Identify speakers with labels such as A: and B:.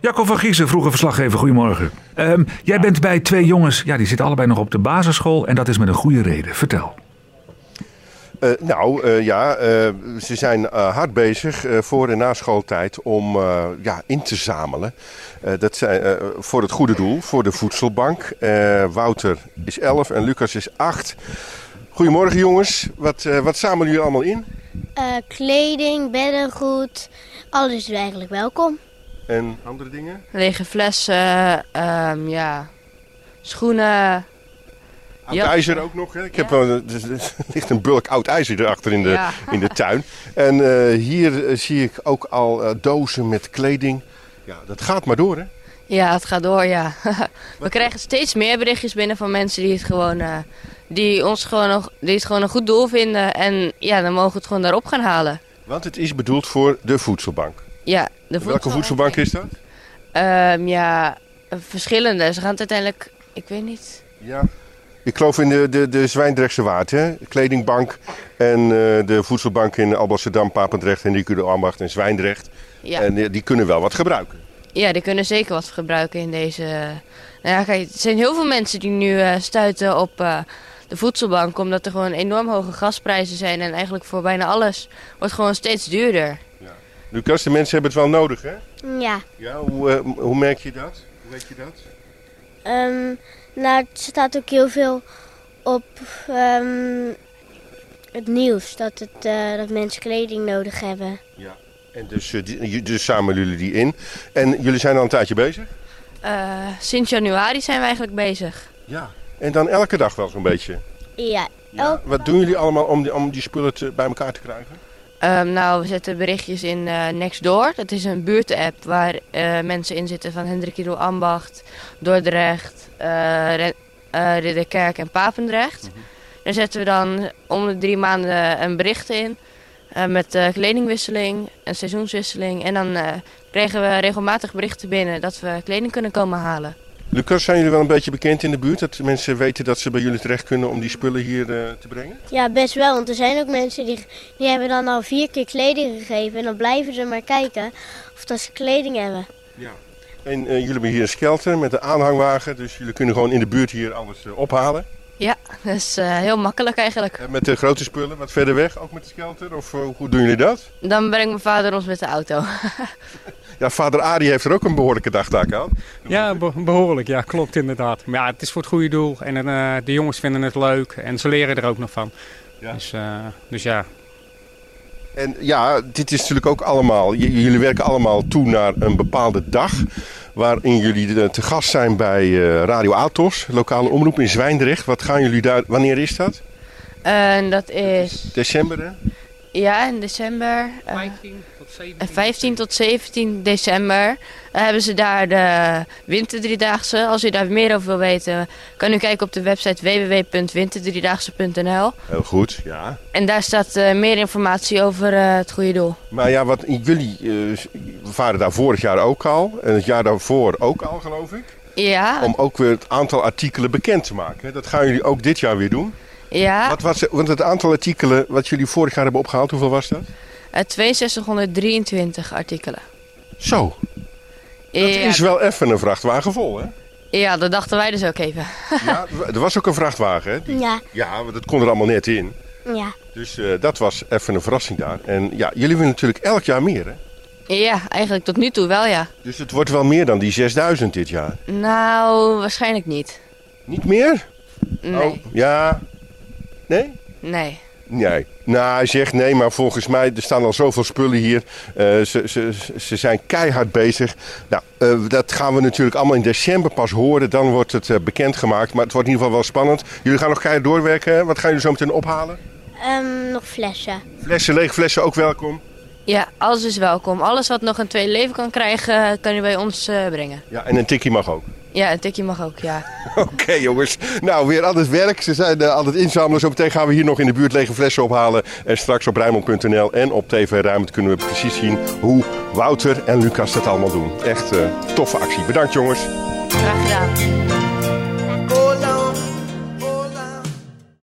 A: Jacco van Giezen, vroege verslaggever, goedemorgen. Ehm, jij bent bij twee jongens, ja, die zitten allebei nog op de basisschool en dat is met een goede reden. Vertel.
B: Eh, nou eh, ja, eh, ze zijn eh, hard bezig eh, voor en na schooltijd om eh, ja, in te zamelen. Eh, dat zijn, eh, voor het goede doel, voor de voedselbank. Eh, Wouter is 11 en Lucas is 8. Goedemorgen jongens, wat, eh, wat zamelen jullie allemaal in?
C: Eh, kleding, beddengoed, alles is eigenlijk welkom.
B: En andere dingen?
D: Lege flessen, ehm, ja. schoenen.
B: Oud
D: Ja.
B: ijzer ook nog. Hè? Ik heb, wel- er er ligt een bulk oud ijzer erachter in de,
D: Ja.
B: in de tuin. En eh, hier eh, zie ik ook al eh, dozen met kleding. Ja, dat gaat maar door hè.
D: Ja, het gaat door, ja. We krijgen steeds meer berichtjes binnen van mensen die het gewoon, eh, die ons gewoon, nog, die het gewoon een goed doel vinden. En ja, dan mogen we het gewoon daarop gaan halen.
B: Want het is bedoeld voor de voedselbank.
D: Ja, de
B: Welke voedselbank is dat?
D: Ehm, ja, verschillende. Ze gaan het uiteindelijk, ik weet niet.
B: Ja. Ik geloof in de, de, de Zwijndrechtse Waard, hè? kledingbank en eh, de voedselbank in Alblasserdam, Papendrecht, Henrico de Ambacht en Zwijndrecht.
D: Ja.
B: En eh, die kunnen wel wat gebruiken.
D: Ja, die kunnen zeker wat gebruiken in deze. Nou ja, kijk, er zijn heel veel mensen die nu eh, stuiten op eh, de voedselbank. Omdat er gewoon enorm hoge gasprijzen zijn. En eigenlijk voor bijna alles wordt gewoon steeds duurder.
B: Lucas, de mensen hebben het wel nodig, hè?
C: Ja.
B: Ja, hoe, eh, m- hoe merk je dat? Hoe weet je dat?
C: Ehm, nou, het staat ook heel veel op ehm, het nieuws dat, het, eh, dat mensen kleding nodig hebben.
B: En dus, eh, die- j- dus samen jullie die in. En jullie zijn al een tijdje bezig?
D: Eh, sinds januari zijn we eigenlijk bezig.
B: Ja. En dan elke dag wel zo'n beetje?
C: Ja. oh, Elk-
B: Wat doen jullie allemaal om die, om die spullen te- bij elkaar te krijgen?
D: Ehm, nou, we zetten berichtjes in eh, Nextdoor. Dat is een buurtapp waar eh, mensen in zitten van Hendrik Ido Ambacht, Dordrecht, eh Ren- eh, Ridderkerk en Papendrecht. Daar zetten we dan om de drie maanden een bericht in. eh, met eh, kledingwisseling en seizoenswisseling. En dan eh, kregen we regelmatig berichten binnen dat we kleding kunnen komen halen.
B: Lucas, zijn jullie wel een beetje bekend in de buurt? Dat mensen weten dat ze bij jullie terecht kunnen om die spullen hier eh, te brengen?
C: ja, best wel. Want er zijn ook mensen die, die hebben dan al vier keer kleding gegeven. En dan blijven ze maar kijken of dat ze kleding hebben.
B: En eh, jullie hebben hier een skelter met een aanhangwagen. Dus jullie kunnen gewoon in de buurt hier alles eh, ophalen.
D: Dat is eh, heel makkelijk eigenlijk.
B: En met de grote spullen wat verder weg, ook met de skelter. Of eh, hoe doen jullie dat?
D: Dan brengt mijn vader ons met de auto.
B: Ja, vader Arie heeft er ook een behoorlijke dagtaak aan.
E: Ja, be- behoorlijk. Ja, klopt inderdaad. Maar ja, het is voor het goede doel. En eh, de jongens vinden het leuk. En ze leren er ook nog van.
B: Ja.
E: Dus, eh, dus ja.
B: En ja, dit is natuurlijk ook allemaal. j- jullie werken allemaal toe naar een bepaalde dag. Waarin jullie eh, te gast zijn bij eh, Radio Atos, lokale omroep in Zwijndrecht. Wat gaan jullie daar. Wanneer is dat?
D: En dat is...
B: December, hè?
D: Ja, in december. eh, eh, 15 tot 17 december eh, hebben ze daar de Winterdriedaagse. Als u daar meer over wil weten, kan u kijken op de website www.winterdriedaagse.nl.
B: Heel goed, ja.
D: En daar staat eh, meer informatie over eh, het goede doel.
B: Maar ja, wat jullie eh, waren daar vorig jaar ook al. En het jaar daarvoor ook al, geloof ik.
D: Ja,
B: Om ook weer het aantal artikelen bekend te maken. hè. Dat gaan jullie ook dit jaar weer doen.
D: ja
B: Wat was, want het aantal artikelen wat jullie vorig jaar hebben opgehaald, hoeveel was dat?
D: eh, 6223 artikelen.
B: Zo, dat
D: Ja,
B: is wel even een vrachtwagen vol, hè?
D: ja, dat dachten wij dus ook even.
B: Ja, er was ook een vrachtwagen, hè? Die-
C: Ja,
B: Ja, want dat kon er allemaal net in.
C: ja.
B: Dus eh, dat was even een verrassing daar. En ja, jullie willen natuurlijk elk jaar meer, hè?
D: Ja, eigenlijk tot nu toe wel ja.
B: Dus het wordt wel meer dan die 6000 dit jaar.
D: Nou, waarschijnlijk niet.
B: Niet meer?
D: Nee,
B: Oh, ja. Nee?
D: nee.
B: Nee. Nou, hij zegt nee, maar volgens mij er staan al zoveel spullen hier. Eh, ze, ze, ze zijn keihard bezig. Nou, eh, dat gaan we natuurlijk allemaal in december pas horen. Dan wordt het eh, bekendgemaakt. Maar het wordt in ieder geval wel spannend. Jullie gaan nog keihard doorwerken. hè? Wat gaan jullie zo meteen ophalen?
C: Ehm, nog flessen.
B: Flessen leeg, flessen ook welkom.
D: Ja, alles is welkom. Alles wat nog een tweede leven kan krijgen, kan u bij ons eh, brengen.
B: Ja, en een tikkie mag ook.
D: Ja, een tikje mag ook, ja.
B: Oké jongens, nou weer aan het werk. Ze zijn eh, aan het inzamelen. Zometeen gaan we hier nog in de buurt lege flessen ophalen. En straks op Rijnmond.nl en op TV Rijnmond kunnen we precies zien hoe Wouter en Lucas dat allemaal doen. Echt eh, toffe actie. Bedankt jongens.
D: Graag gedaan.